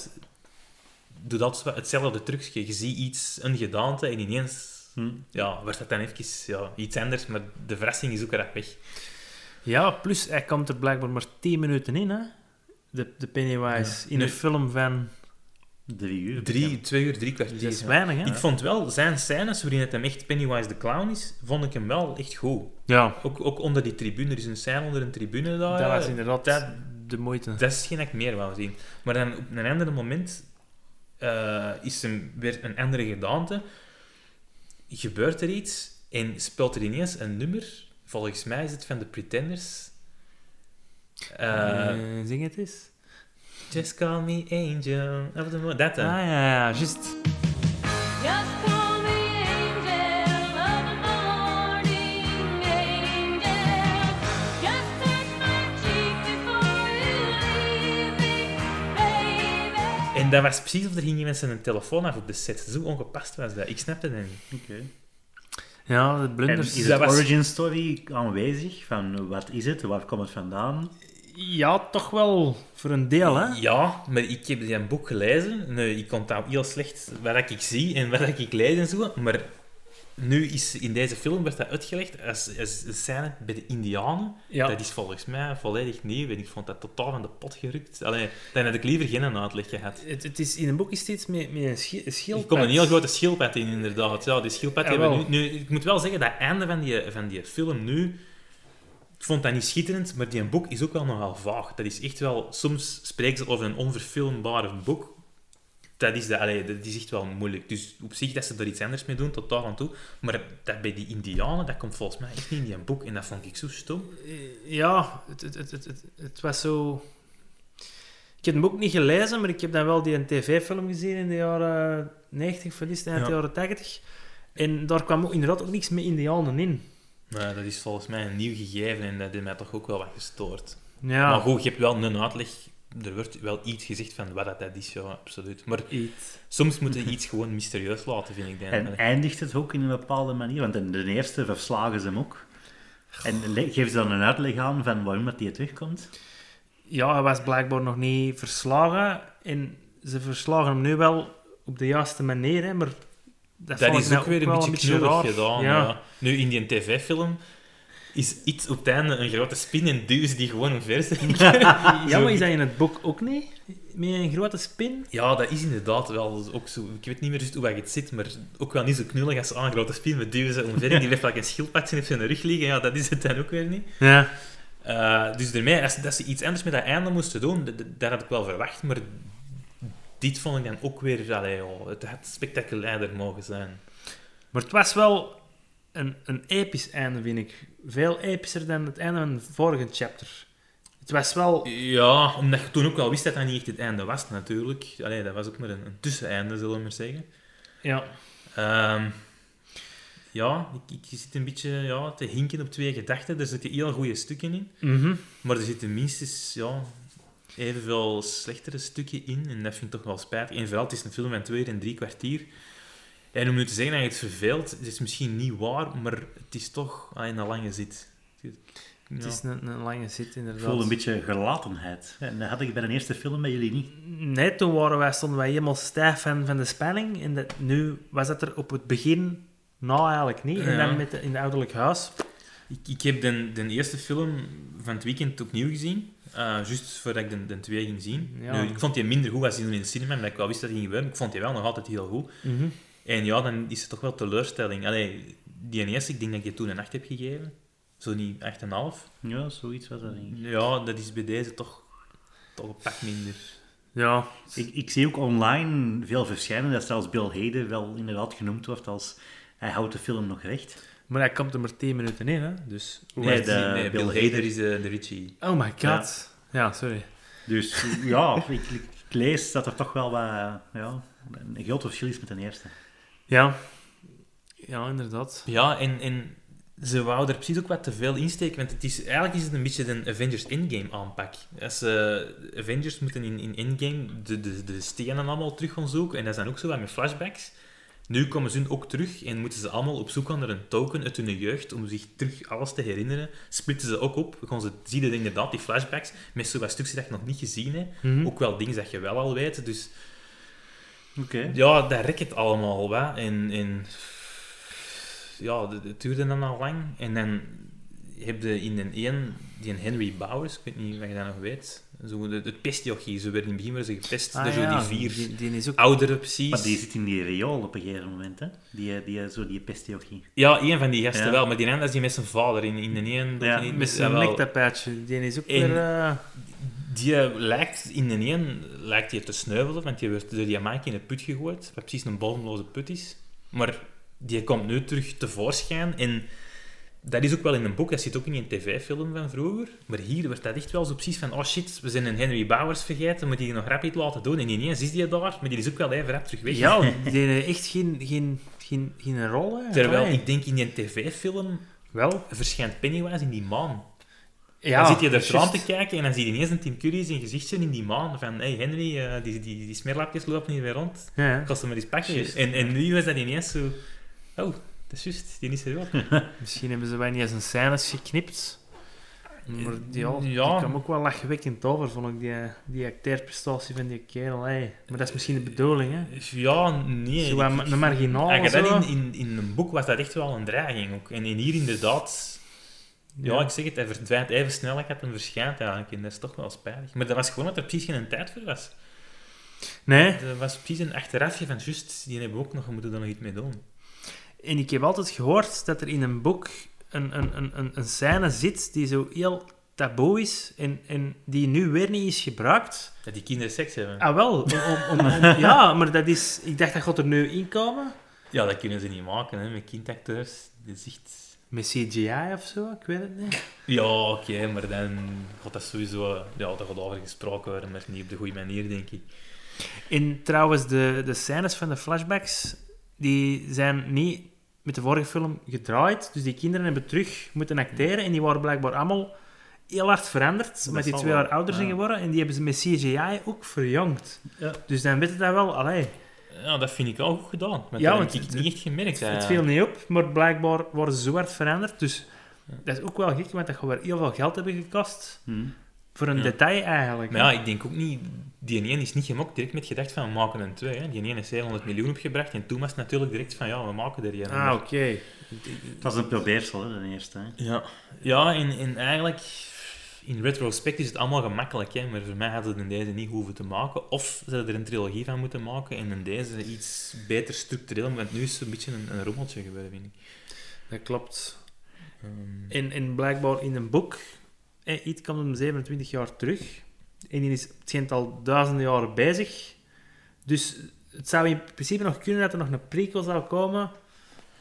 S1: doet altijd wel hetzelfde trucje. Je ziet iets, een gedaante, en ineens
S3: Hm.
S1: ja, wordt dat dan eventjes ja, iets anders, maar de verrassing is ook erg weg.
S2: Ja, plus hij komt er blijkbaar maar 10 minuten in, hè? De, de Pennywise.
S1: Ja.
S2: In
S1: Nu-
S2: een film van...
S3: Drie uur.
S1: Drie, twee uur, drie kwartier.
S2: Dat is weinig, hè?
S1: Dus Ik vond wel zijn scènes waarin het hem echt Pennywise de clown is, vond ik hem wel echt goed.
S2: Ja,
S1: Ook, ook onder die tribune, er is een scène onder een tribune daar.
S2: dat was
S1: eh,
S2: inderdaad
S1: dat-
S2: de moeite.
S1: dat is geen dat ik meer wou zien. Maar dan op een ander moment eh, is hem weer een andere gedaante. Gebeurt er iets en speelt er ineens een nummer. Volgens mij is het van de Pretenders. Eh,
S2: Eh, zing het eens.
S1: Just call me angel. of the moon. Dat
S2: Ah,
S1: dan.
S2: ja, ja, juist.
S4: Just call me angel of the morning angel. Just touch my cheek before you leave me, baby.
S1: En dat was precies of er gingen mensen een telefoon af op de set. Zo ongepast was dat. Ik snapte dat niet.
S3: Oké.
S2: Ja, de
S3: En
S2: blunders.
S3: is
S1: dat
S3: de
S1: was-
S3: origin story aanwezig? Van wat is het? Waar komt het vandaan?
S2: Ja, toch wel voor een deel, hè?
S1: Ja, maar ik heb die een boek gelezen. Nu, ik onthoud heel slecht wat ik zie en wat ik lees en zo. Maar nu is in deze film werd dat uitgelegd als, als een scène bij de Indianen.
S2: Ja.
S1: Dat is volgens mij volledig nieuw en ik vond dat totaal van de pot gerukt. Alleen dan had ik liever geen uitleg gehad.
S2: Het, het is in een boek is steeds met, met een schi- een
S1: Er
S2: schildpad.
S1: komt een heel grote schildpad in, inderdaad. Ja, die schildpad
S2: Ja,
S1: hebben
S2: wel.
S1: nu, nu... Ik moet wel zeggen, dat einde van die, van die film nu... Ik vond dat niet schitterend, maar die boek is ook wel nogal vaag. Dat is echt wel... Soms spreken ze over een onverfilmbare boek. Dat is, de, allee, dat is echt wel moeilijk. Dus op zich dat ze er iets anders mee doen, tot daar aan toe. Maar dat bij die indianen, dat komt volgens mij echt niet in die boek. En dat vond ik zo stom.
S2: Eh, Ja, het, het, het, het, het, het was zo... Ik heb het boek niet gelezen, maar ik heb dan wel die een tv-film gezien in de jaren 90, van is het, eind
S1: Ja.
S2: de jaren 80. En daar kwam ook inderdaad ook niks met indianen in.
S1: Maar dat is volgens mij een nieuw gegeven en dat heeft mij toch ook wel wat gestoord.
S2: Ja,
S1: Maar goed, je hebt wel een uitleg. Er wordt wel iets gezegd van wat dat dat is, ja, absoluut. Maar
S2: Iets.
S1: soms moet je iets gewoon mysterieus laten, vind ik. Dan.
S3: En eindigt het ook in een bepaalde manier? Want in de eerste verslagen ze hem ook. En le- geven ze dan een uitleg aan van waarom dat die terugkomt?
S2: Ja, hij was blijkbaar nog niet verslagen. En ze verslagen hem nu wel op de juiste manier, hè, maar...
S1: dat
S2: Dat, vond ik
S1: is
S2: nou
S1: ook weer een
S2: wel
S1: beetje knullig
S2: raar.
S1: gedaan.
S2: Ja.
S1: Ja. Nu, in die tv-film is iets op het einde een grote spin en duwt die gewoon omver.
S2: Ja, maar is dat in het boek ook niet? Met een grote spin?
S1: ja, dat is inderdaad wel ook zo. Ik weet niet meer juist hoe dat het zit, maar ook wel niet zo knullig als aan een grote spin. We duwen ze omver en die heeft like een schildpad op zijn rug liggen. Ja, dat is het dan ook weer niet.
S2: Ja.
S1: Eh, dus daarmee, als, dat ze iets anders met dat einde moesten doen, dat, dat- dat had ik wel verwacht, maar dit vond ik dan ook weer... Allee, joh, het had spectaculairder mogen zijn.
S2: Maar het was wel een, een episch einde, vind ik. Veel epischer dan het einde van het vorige chapter. Het was wel...
S1: Ja, omdat je toen ook wel wist dat dat niet echt het einde was, natuurlijk. Allee, dat was ook maar een, een tusseneinde, zullen we maar zeggen.
S2: Ja.
S1: Ehm, ja, ik, ik zit een beetje ja, te hinken op twee gedachten. Er zitten heel goede stukken in,
S2: Mhm.
S1: maar er zitten minstens ja, evenveel slechtere stukken in. En dat vind ik toch wel spijtig. En vooral, het is een film van twee uur en drie kwartier. En om nu te zeggen dat je het verveelt, het is misschien niet waar, maar het is toch aan een lange zit. Ja.
S2: Het is een, een lange zit,
S3: Ik
S2: inderdaad.
S3: voel een beetje gelatenheid. En dat had ik bij de eerste film bij jullie niet.
S2: Nee, toen waren wij, stonden wij helemaal stijf van, van de spanning. En dat, nu was dat er op het begin... Nou, eigenlijk niet. En
S1: Ja.
S2: dan met de, in het ouderlijk huis.
S1: Ik, ik heb de, de eerste film van het weekend opnieuw gezien. eh Juist voordat ik de, de twee ging zien.
S2: Ja.
S1: Nu, ik vond die minder goed als die toen in de cinema, omdat ik wel wist dat die ging gebeuren. Ik vond die wel nog altijd heel goed.
S2: Mhm.
S1: En ja, dan is het toch wel teleurstelling. Allee, die eerste, ik denk dat ik je toen een 8 heb gegeven. Zo niet 8,5.
S3: Ja, zoiets was dat niet.
S1: Ja, dat is bij deze toch, toch een pak minder.
S2: Ja,
S3: Ik, ik zie ook online veel verschijnen dat zelfs Bill Hader wel inderdaad genoemd wordt als hij houdt de film nog recht.
S2: maar hij komt er maar 10 minuten in, hè? Dus. hoe
S3: Nee,
S2: heeft-
S3: de-
S1: nee, Bill
S3: Bill
S1: Hader
S3: Hader.
S1: is eh, de Richie.
S2: Oh my god. Ja, sorry.
S3: Dus ja, ik, ik lees dat er toch wel wat, ja, een groot verschil is met de eerste.
S2: Ja. Ja, inderdaad.
S1: Ja, en, en ze wouden er precies ook wat te veel insteken. Want het is, eigenlijk is het een beetje een Avengers Endgame aanpak. Als ze Avengers moeten in, in Endgame de, de, de stenen allemaal terug gaan zoeken. En dat zijn ook zo wat met flashbacks. Nu komen ze hun ook terug en moeten ze allemaal op zoek gaan naar een token uit hun jeugd om zich terug alles te herinneren. Splitten ze ook op, gaan ze zien dat inderdaad die flashbacks met zo wat stukjes dat je nog niet gezien hebt.
S2: Mhm.
S1: Ook wel dingen dat je wel al weet. Dus
S3: Oké.
S1: ja, dat rek het allemaal wel. En, en ja, dat- het duurde dan al lang. En dan heb je in een één, die een Henry Bowers, ik weet niet of je dat nog weet, zo de, het pestjochie, ze werden in het begin werden ze gepest
S2: Ah,
S1: door zo
S2: ja,
S1: die vier
S2: Die, die is ook...
S1: ouderen precies.
S3: Maar die zit in die riool op een gegeven moment, hè? Die, die, zo die pestiochie.
S1: Ja, één van die gasten
S3: Ja.
S1: wel, maar die andere is die met zijn vader in, in de één.
S3: Ja,
S1: die-
S2: Met zijn
S1: jawel.
S2: nektapijtje. Die is ook
S1: In-
S2: weer... eh,
S1: Die lijkt in de één lijkt die te sneuvelen, want die werd door die maak in een put gegooid, wat precies een bodemloze put is. Maar die komt nu terug tevoorschijn en dat is ook wel in een boek, dat zit ook in een tv-film van vroeger. Maar hier werd dat echt wel zo precies van, oh shit, we zijn een Henry Bowers vergeten, moet die nog rap iets laten doen. En ineens is die daar, maar die is ook wel even rap terug weg.
S2: ja, die heeft echt geen, geen, geen, geen rol, hè.
S1: Terwijl
S2: Amai.
S1: ik denk in die tv-film
S2: Wel.
S1: verschijnt Pennywise in die maan.
S2: Ja,
S1: dan zit je er
S2: juist.
S1: traan te kijken en dan zie je ineens een Tim Curry zijn gezichtje in die maan. Van, hey Henry, eh, die, die, die smeerlapjes lopen hier weer rond.
S2: Ja,
S1: Ik ze maar eens pakken.
S2: Juist.
S1: En, en nu was dat ineens zo... Oh, dat is juist, die is er wel.
S2: misschien hebben ze wel niet eens een scènes geknipt. Maar die, ja, die
S1: Ja.
S2: kwam ook wel lachwekkend over, vond ik, die, die acteerprestatie van die kerel. hè. Maar dat is misschien de bedoeling, hè.
S1: Ja, nee.
S2: Zo wat
S1: ik-
S2: ma- een marginaal
S1: Als je
S2: zo.
S1: dat in, in, in een boek was, dat echt wel een dreiging ook. En, en hier inderdaad... Ja, ik zeg het, hij verdwijnt even snel als dat hem verschijnt eigenlijk. En dat is toch wel spijtig. Maar dat was gewoon dat er precies geen tijd voor was.
S2: Nee,
S1: Er was precies een achterafje van, juist, die hebben we ook nog, we moeten er nog iets mee doen.
S2: En ik heb altijd gehoord dat er in een boek een, een, een, een, een scène zit die zo heel taboe is en, en die nu weer niet is gebruikt.
S1: Dat die kinderen seks hebben.
S2: Ah wel, om, om, om- om- ja, maar dat is, ik dacht dat gaat er nu inkomen.
S1: Ja, dat kunnen ze niet maken, hè, met kindacteurs. Dat is echt...
S2: Met CGI of zo, ik weet het niet.
S1: Ja, oké, maar dan gaat dat sowieso... Ja, dat gaat over gesproken worden, maar niet op de goede manier, denk ik.
S2: En trouwens, de, de scènes van de flashbacks, die zijn niet met de vorige film gedraaid. Dus die kinderen hebben terug moeten acteren en die waren blijkbaar allemaal heel hard veranderd. omdat die
S3: zal
S2: twee
S3: wel,
S2: jaar ouder zijn
S3: ja.
S2: geworden en die hebben ze met CGI ook verjongd.
S3: Ja.
S2: Dus dan weet je dat wel, allee.
S1: Ja, dat vind ik wel goed gedaan. Maar
S2: Ja,
S1: dat
S2: want
S1: heb ik
S2: het-
S1: niet echt gemerkt.
S2: Het
S1: ja.
S2: viel niet op, maar blijkbaar worden ze zo hard veranderd. Dus dat is ook wel gek, want dat gaat weer heel veel geld hebben gekost.
S3: Hm.
S2: Voor een
S1: Ja.
S2: detail eigenlijk.
S1: Eh,
S2: Ah,
S1: Maar ja, ik denk ook niet... Die ene is niet gemokt direct met gedacht van, we maken een twee. Hè. Die ene is 700 miljoen opgebracht en toen was het natuurlijk direct van, ja, we maken er een.
S2: Ah, oké.
S3: Het was een probeersel, hè, de eerste. Hè.
S1: Ja, ja en, en eigenlijk, in retrospect is het allemaal gemakkelijk, hè? maar voor mij hadden ze in deze niet hoeven te maken. Of ze hadden er een trilogie van moeten maken en in deze iets beter structureel, want nu is het een beetje een, een rommeltje geworden, vind ik.
S2: Dat klopt.
S1: Ehm,
S2: En, en blijkbaar in een boek, eh, iets komt om 27 jaar terug. En die is, het schijnt al duizenden jaren bezig. Dus het zou in principe nog kunnen dat er nog een prequel zou komen.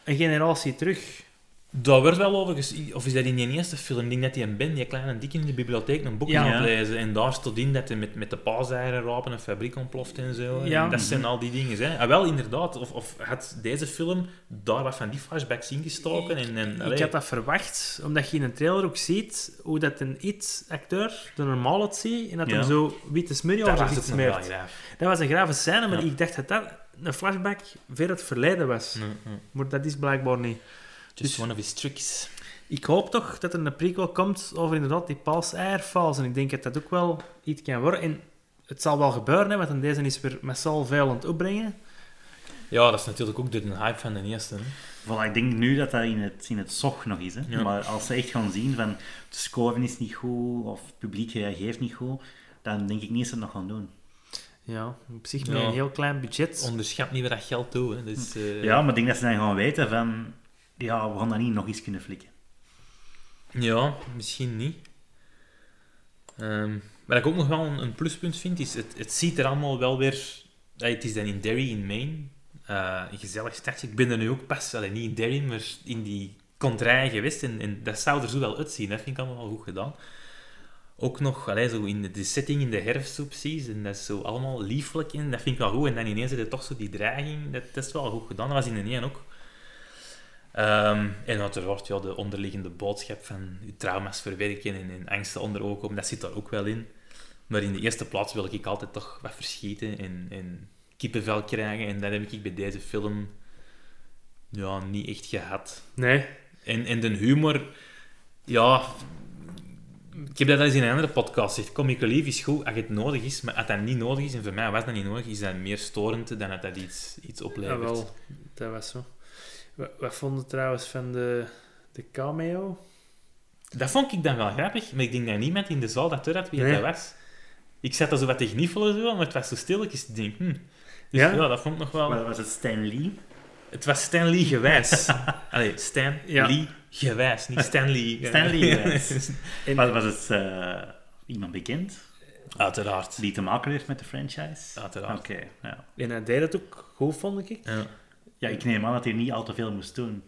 S2: Een generatie terug.
S1: daar werd wel over ges- Of is dat in die eerste film? Ik denk dat die een Ben, die kleine dik in de bibliotheek, een boek
S2: Ja.
S1: aan het lezen. En daar stond in dat hij met, met de paaseieren rapen een fabriek ontploft en zo. En
S2: Ja.
S1: dat zijn al die dingen. Hè. Ah, wel, inderdaad. Of, of had deze film daar wat van die flashbacks ingestoken? En, en,
S2: Ik
S1: allee.
S2: had dat verwacht, omdat je in een trailer ook ziet hoe dat een IT-acteur de normaal het ziet en dat
S3: Ja.
S2: hem zo witte smurrie
S1: Dat
S2: over
S1: was
S2: zich
S1: het nog wel
S2: smeert.
S1: graaf.
S2: Dat was een grave scène, maar
S1: Ja.
S2: ik dacht dat dat een flashback ver het verleden was. Maar dat is blijkbaar niet.
S1: Just
S2: Dus-
S1: one of his tricks.
S2: Ik hoop toch dat er een prequel komt over inderdaad die paas-eierfase. En ik denk dat dat ook wel iets kan worden. En het zal wel gebeuren, hè, want in deze is weer massaal veel aan het opbrengen.
S1: Ja, dat is natuurlijk ook door de hype van de eerste. hè.
S3: Voilà, ik denk nu dat dat in het, in het zog nog is. Hè.
S1: Ja.
S3: Maar als ze echt gaan zien van de score is niet goed of het publiek reageert niet goed, dan denk ik niet dat ze het nog gaan doen.
S2: Ja, op zich met
S1: Ja.
S2: een heel klein budget.
S1: Onderschat niet wat dat geld doet. Hè. Dus, eh,
S3: Ja, maar ik denk dat ze dan gaan weten van ja, we gaan dat niet nog eens kunnen flikken.
S1: ja, misschien niet. Ehm, Wat ik ook nog wel een, een pluspunt vind, is het, het ziet er allemaal wel weer... Allee, het is dan in Derry, in Maine. Eh, een gezellig stadje. Ik ben er nu ook pas, allee, niet in Derry, maar in die contraille geweest. En, en dat zou er zo wel uitzien. Dat vind ik allemaal wel goed gedaan. Ook nog allee, zo in de, de setting in de herfst zo precies. En dat is zo allemaal lieflijk in. Dat vind ik wel goed. En dan ineens is er toch zo die dreiging. Dat, dat is wel goed gedaan. Dat was in de een ook. Ehm, en uiteraard ja, de onderliggende boodschap van je trauma's verwerken en, en angsten onder ogen komen, dat zit daar ook wel in. Maar in de eerste plaats wil ik altijd toch wat verschieten en, en kippenvel krijgen. En dat heb ik bij deze film ja, niet echt gehad.
S2: Nee.
S1: En, en de humor, ja, ik heb dat al eens in een andere podcast gezegd. Comic Relief is goed als het nodig is, maar als dat niet nodig is, en voor mij was dat niet nodig, is dat meer storend dan dat dat iets, iets
S2: Ja,
S1: oplevert.
S2: ah, wel. Dat was zo. Wa- Wat vonden we trouwens van de, de cameo?
S1: Dat vond ik dan wel grappig, maar ik denk dat niemand in de zaal dat door had wie
S2: Nee.
S1: dat was. Ik zat daar zo wat te gniffelen, zo, maar het was zo stilletjes. Ik denk, hm. Dus
S2: Ja?
S1: ja? dat vond ik nog wel...
S3: Maar was het Stan Lee?
S1: Het was Stanley gewijs. Allee, Stan
S2: Ja.
S1: Lee gewijs, niet Stanley.
S3: Stanley gewijs.
S2: En-
S3: Maar was het eh, iemand bekend
S1: Uiteraard.
S3: die te maken heeft met de franchise?
S1: Uiteraard.
S3: Oké, ja.
S2: En hij deed dat ook goed, vond ik.
S1: Ja.
S3: Ja, ik neem aan dat hij niet al te veel moest doen.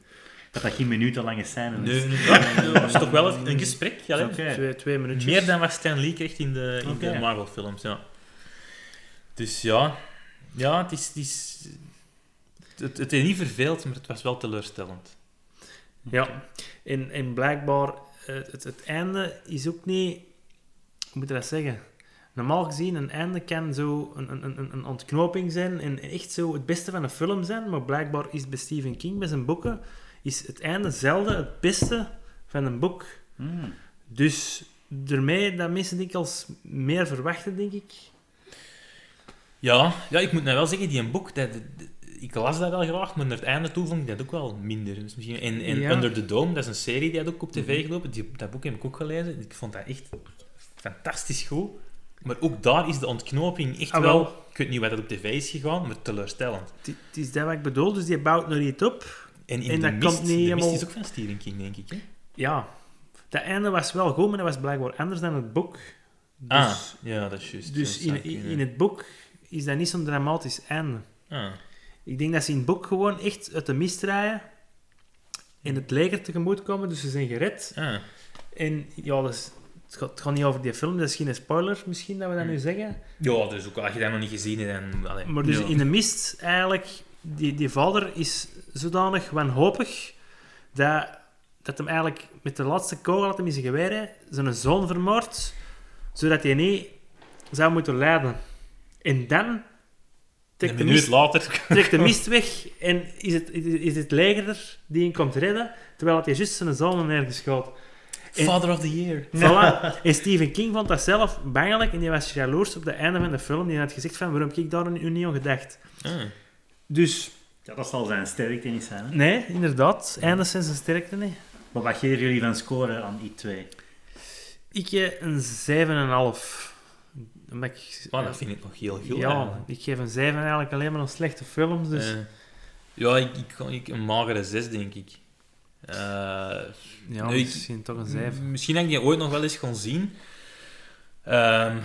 S3: Dat dat geen minutenlange scène is.
S1: Nee, het was toch wel een gesprek. ja, hè?
S3: Oké.
S2: Twee, twee minuutjes.
S1: Meer dan wat Stan Lee kreeg in de, in
S3: Oké.
S1: de Marvel-films, ja. Dus ja, ja het, is, het, is, het, het heeft niet verveeld, maar het was wel teleurstellend.
S2: Ja, en, en blijkbaar, eh, het, het einde is ook niet... Hoe moet je dat zeggen? Normaal gezien, een einde kan zo een, een, een, een ontknoping zijn en echt zo het beste van een film zijn, maar blijkbaar is bij Stephen King, bij zijn boeken, is het einde zelden het beste van een boek.
S3: Hmm.
S2: Dus daarmee dat mensen dikwijls meer verwachten, denk ik.
S1: Ja, ja ik moet nou wel zeggen, die een boek, dat, dat- ik las dat wel graag, maar naar het einde toe vond ik dat ook wel minder. Dus misschien, en en
S2: Ja. Mhm.
S1: Under the Dome, dat is een serie die had ook op tv gelopen. Die, dat boek heb ik ook gelezen. Ik vond dat echt fantastisch goed. Maar ook daar is de ontknoping echt
S2: Ah, wel.
S1: wel... Ik weet niet wat dat op tv is gegaan, maar teleurstellend.
S2: Het het is dat wat ik bedoel, dus die bouwt nog iets op.
S1: En in
S2: En
S1: de,
S2: dat
S1: mist,
S2: komt niet
S1: de
S2: helemaal-
S1: mist is ook van Stephen King, denk ik. Hè?
S2: Ja, dat einde was wel goed, maar dat was blijkbaar anders dan het boek. Dus-
S1: ah, ja, dat is juist.
S2: Dus
S1: Dat zou
S2: in, in
S1: kunnen.
S2: in het boek is dat niet zo'n dramatisch einde.
S1: Ah.
S2: Ik denk dat ze in het boek gewoon echt uit de mist draaien en het leger tegemoet komen, dus ze zijn gered.
S1: Ah.
S2: En ja, dat is- het, gaat, het gaat niet over die film, dat is geen spoiler misschien dat we dat nu zeggen.
S1: Ja, dus ook als je dat nog niet gezien hebt, dan... allee.
S2: Maar dus
S3: Ja.
S2: in de mist eigenlijk, die, die vader is zodanig wanhopig dat, dat hem eigenlijk met de laatste kogel dat hem in zijn geweer heeft, zijn zoon vermoordt, zodat hij niet zou moeten lijden. En dan trekt de
S1: een minuut
S2: mist
S1: later...
S2: trekt de mist weg en is het, is het leger er die hem komt redden, terwijl het hij juist zijn zoon nergens schoot. En-
S1: Father of the Year.
S2: Voilà. En Stephen King vond dat zelf bangelijk en die was jaloers op het einde van de film. Die had gezegd van, waarom heb ik daar nu niet aan gedacht?
S1: Ah.
S2: Dus,
S3: Ja, dat zal zijn sterkte niet zijn. Hè?
S2: nee, inderdaad. Eindes zijn zijn sterkte, nee.
S3: Maar wat geven jullie van score aan die twee?
S2: Ik eh, een 7,5. Omdat ik...
S1: Maar dat vind ik nog heel goed.
S2: ja, ik geef een 7 eigenlijk alleen maar aan slechte films. Dus
S1: Eh, ja, ik, ik, kan- ik, een magere 6, denk ik. Eh,
S2: ja,
S1: nee, ik-
S2: misschien toch een 7.
S1: m- Misschien dat ik die ooit nog wel eens gaan zien. Ehm,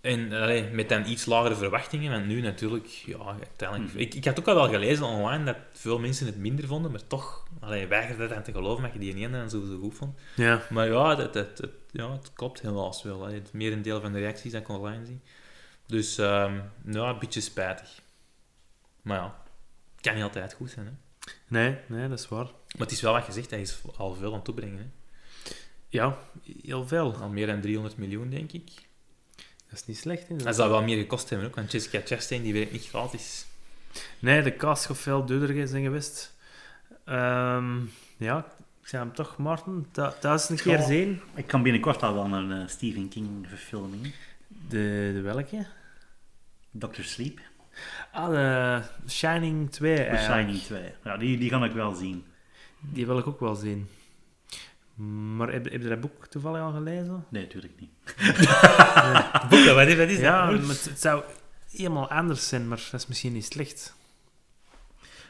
S1: en allee, met dan iets lagere verwachtingen, want nu natuurlijk... Ja, uiteindelijk...
S3: Hm.
S1: Ik, ik had ook al wel gelezen online dat veel mensen het minder vonden, maar toch allee, weigerde dat aan te geloven dat je die ene dan zo, zo goed vond.
S2: Ja.
S1: Maar Mm. ja, dat, dat, dat- ja, het klopt helaas wel. Hè. Het merendeel van de reacties dat ik online zie. Dus ehm ja, een beetje spijtig. Maar ja, het kan niet altijd goed zijn. Hè.
S2: Nee, nee, dat is waar.
S1: Maar het is wel wat gezegd, hij is al veel aan het toebrengen. Hè.
S2: Ja, heel veel.
S1: Al meer dan 300 miljoen, denk ik.
S2: Dat is niet slecht,
S1: Dat
S2: inderdaad.
S1: zou wel meer gekost hebben ook, want Jessica Chastain die werkt niet gratis.
S2: Nee, de cast gaat veel duurder zijn geweest. Ehm, ja, ik zei hem toch, Martin. Dat, dat is een keer
S3: Ja.
S2: zien.
S3: Ik kan binnenkort al wel naar een eh, Stephen King verfilming.
S2: De, de welke?
S3: Doctor Sleep.
S2: Ah, de Shining eh, 2
S3: The
S2: eigenlijk.
S3: Shining 2. Ja, die, die kan ik wel zien.
S2: Die wil ik ook wel zien. Maar heb, heb je dat boek toevallig al gelezen?
S3: Nee, natuurlijk niet.
S1: Boeken, wat is dat? Is
S2: ja,
S1: dat?
S2: maar het, het zou helemaal anders zijn, maar dat is misschien niet slecht.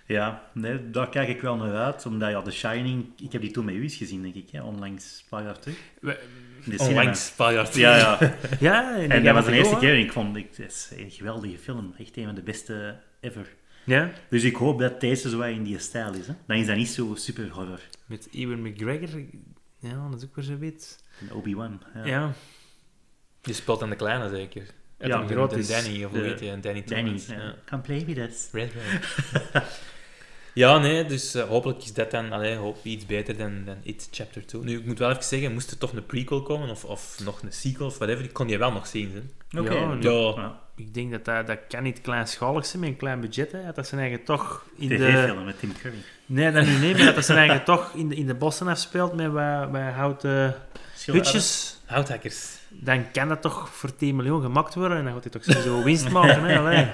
S3: Ja, nee, daar kijk ik wel naar uit. Omdat ja, The Shining, ik heb die toen met u eens gezien, denk ik, hè, onlangs, een paar jaar terug.
S2: We-
S3: In de
S1: Onlangs, een paar jaar
S3: cinema.
S1: terug.
S3: Ja, ja.
S2: Ja,
S3: En dat was de eerste keer en ik vond het is een geweldige film. Echt een van de beste ever.
S2: Ja,
S3: Dus ik hoop dat deze zo wat in die stijl is. Hè. Dan is dat niet zo super horror.
S2: met Ewan McGregor. Ja, dat is ook weer zo wit.
S3: En Obi-Wan. Ja.
S2: Ja.
S1: Je speelt aan de kleine, zeker. Ja,
S3: Ja,
S1: de
S2: groot
S1: grote
S2: is
S1: Danny, of hoe
S3: de-
S1: heet je? En Danny
S3: Danny,
S1: Thomas.
S3: ja.
S1: Ja.
S3: Come play with us.
S1: Red Red. ja, nee, dus eh, hopelijk is dat dan allee, hoop, iets beter dan, dan It Chapter 2. Nu, ik moet wel even zeggen, moest er toch een prequel komen, of, of nog een sequel, of whatever, ik kon je wel nog zien. Hè?
S3: Oké.
S2: Ja,
S1: ja.
S2: Ik denk dat, dat dat kan niet kleinschalig zijn met een klein budget. Hè. Dat zijn eigenlijk toch in de...
S3: TV-film met Tim Curry.
S2: Nee, dat nu niet, maar dat dat zijn eigenlijk toch in de, in de bossen afspeelt met wat, wat houten hutjes.
S1: Houthackers.
S2: Dan kan dat toch voor 10 miljoen gemaakt worden en dan gaat hij toch sowieso winst maken. Hè. Allee.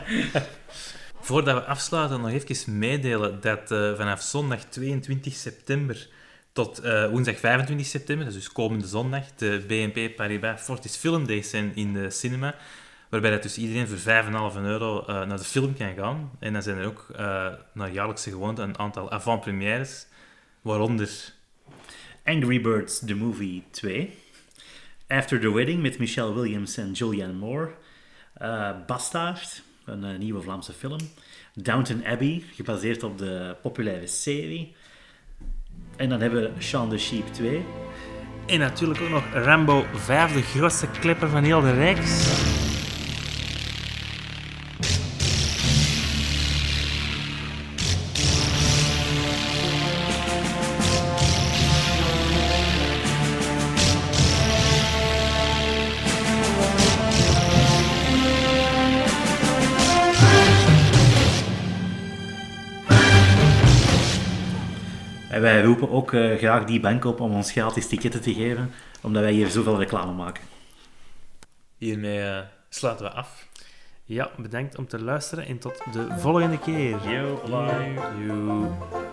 S1: Voordat we afsluiten, nog even meedelen dat eh, vanaf zondag 22 september tot eh, woensdag 25 september, dat is dus komende zondag, de BNP Paribas Fortis Film Days zijn in de cinema. Waarbij dat dus iedereen voor 5,5 euro eh, naar de film kan gaan. En dan zijn er ook eh, naar jaarlijkse gewoonte een aantal avant-premières, waaronder
S3: uh, Angry Birds The Movie 2. After the Wedding met Michelle Williams en Julianne Moore. Eh Bastaard, een eh, nieuwe Vlaamse film. Downton Abbey, gebaseerd op de populaire serie. En dan hebben we Shaun the Sheep 2.
S2: En natuurlijk ook nog Rambo 5, de grootste klepper van heel de Rijks.
S3: En wij roepen ook eh, graag die bank op om ons gratis ticketten te geven, omdat wij hier zoveel reclame maken.
S1: hiermee eh, sluiten we af.
S2: Ja, bedankt om te luisteren en tot de volgende keer.
S3: Yo, bye.
S1: Joe.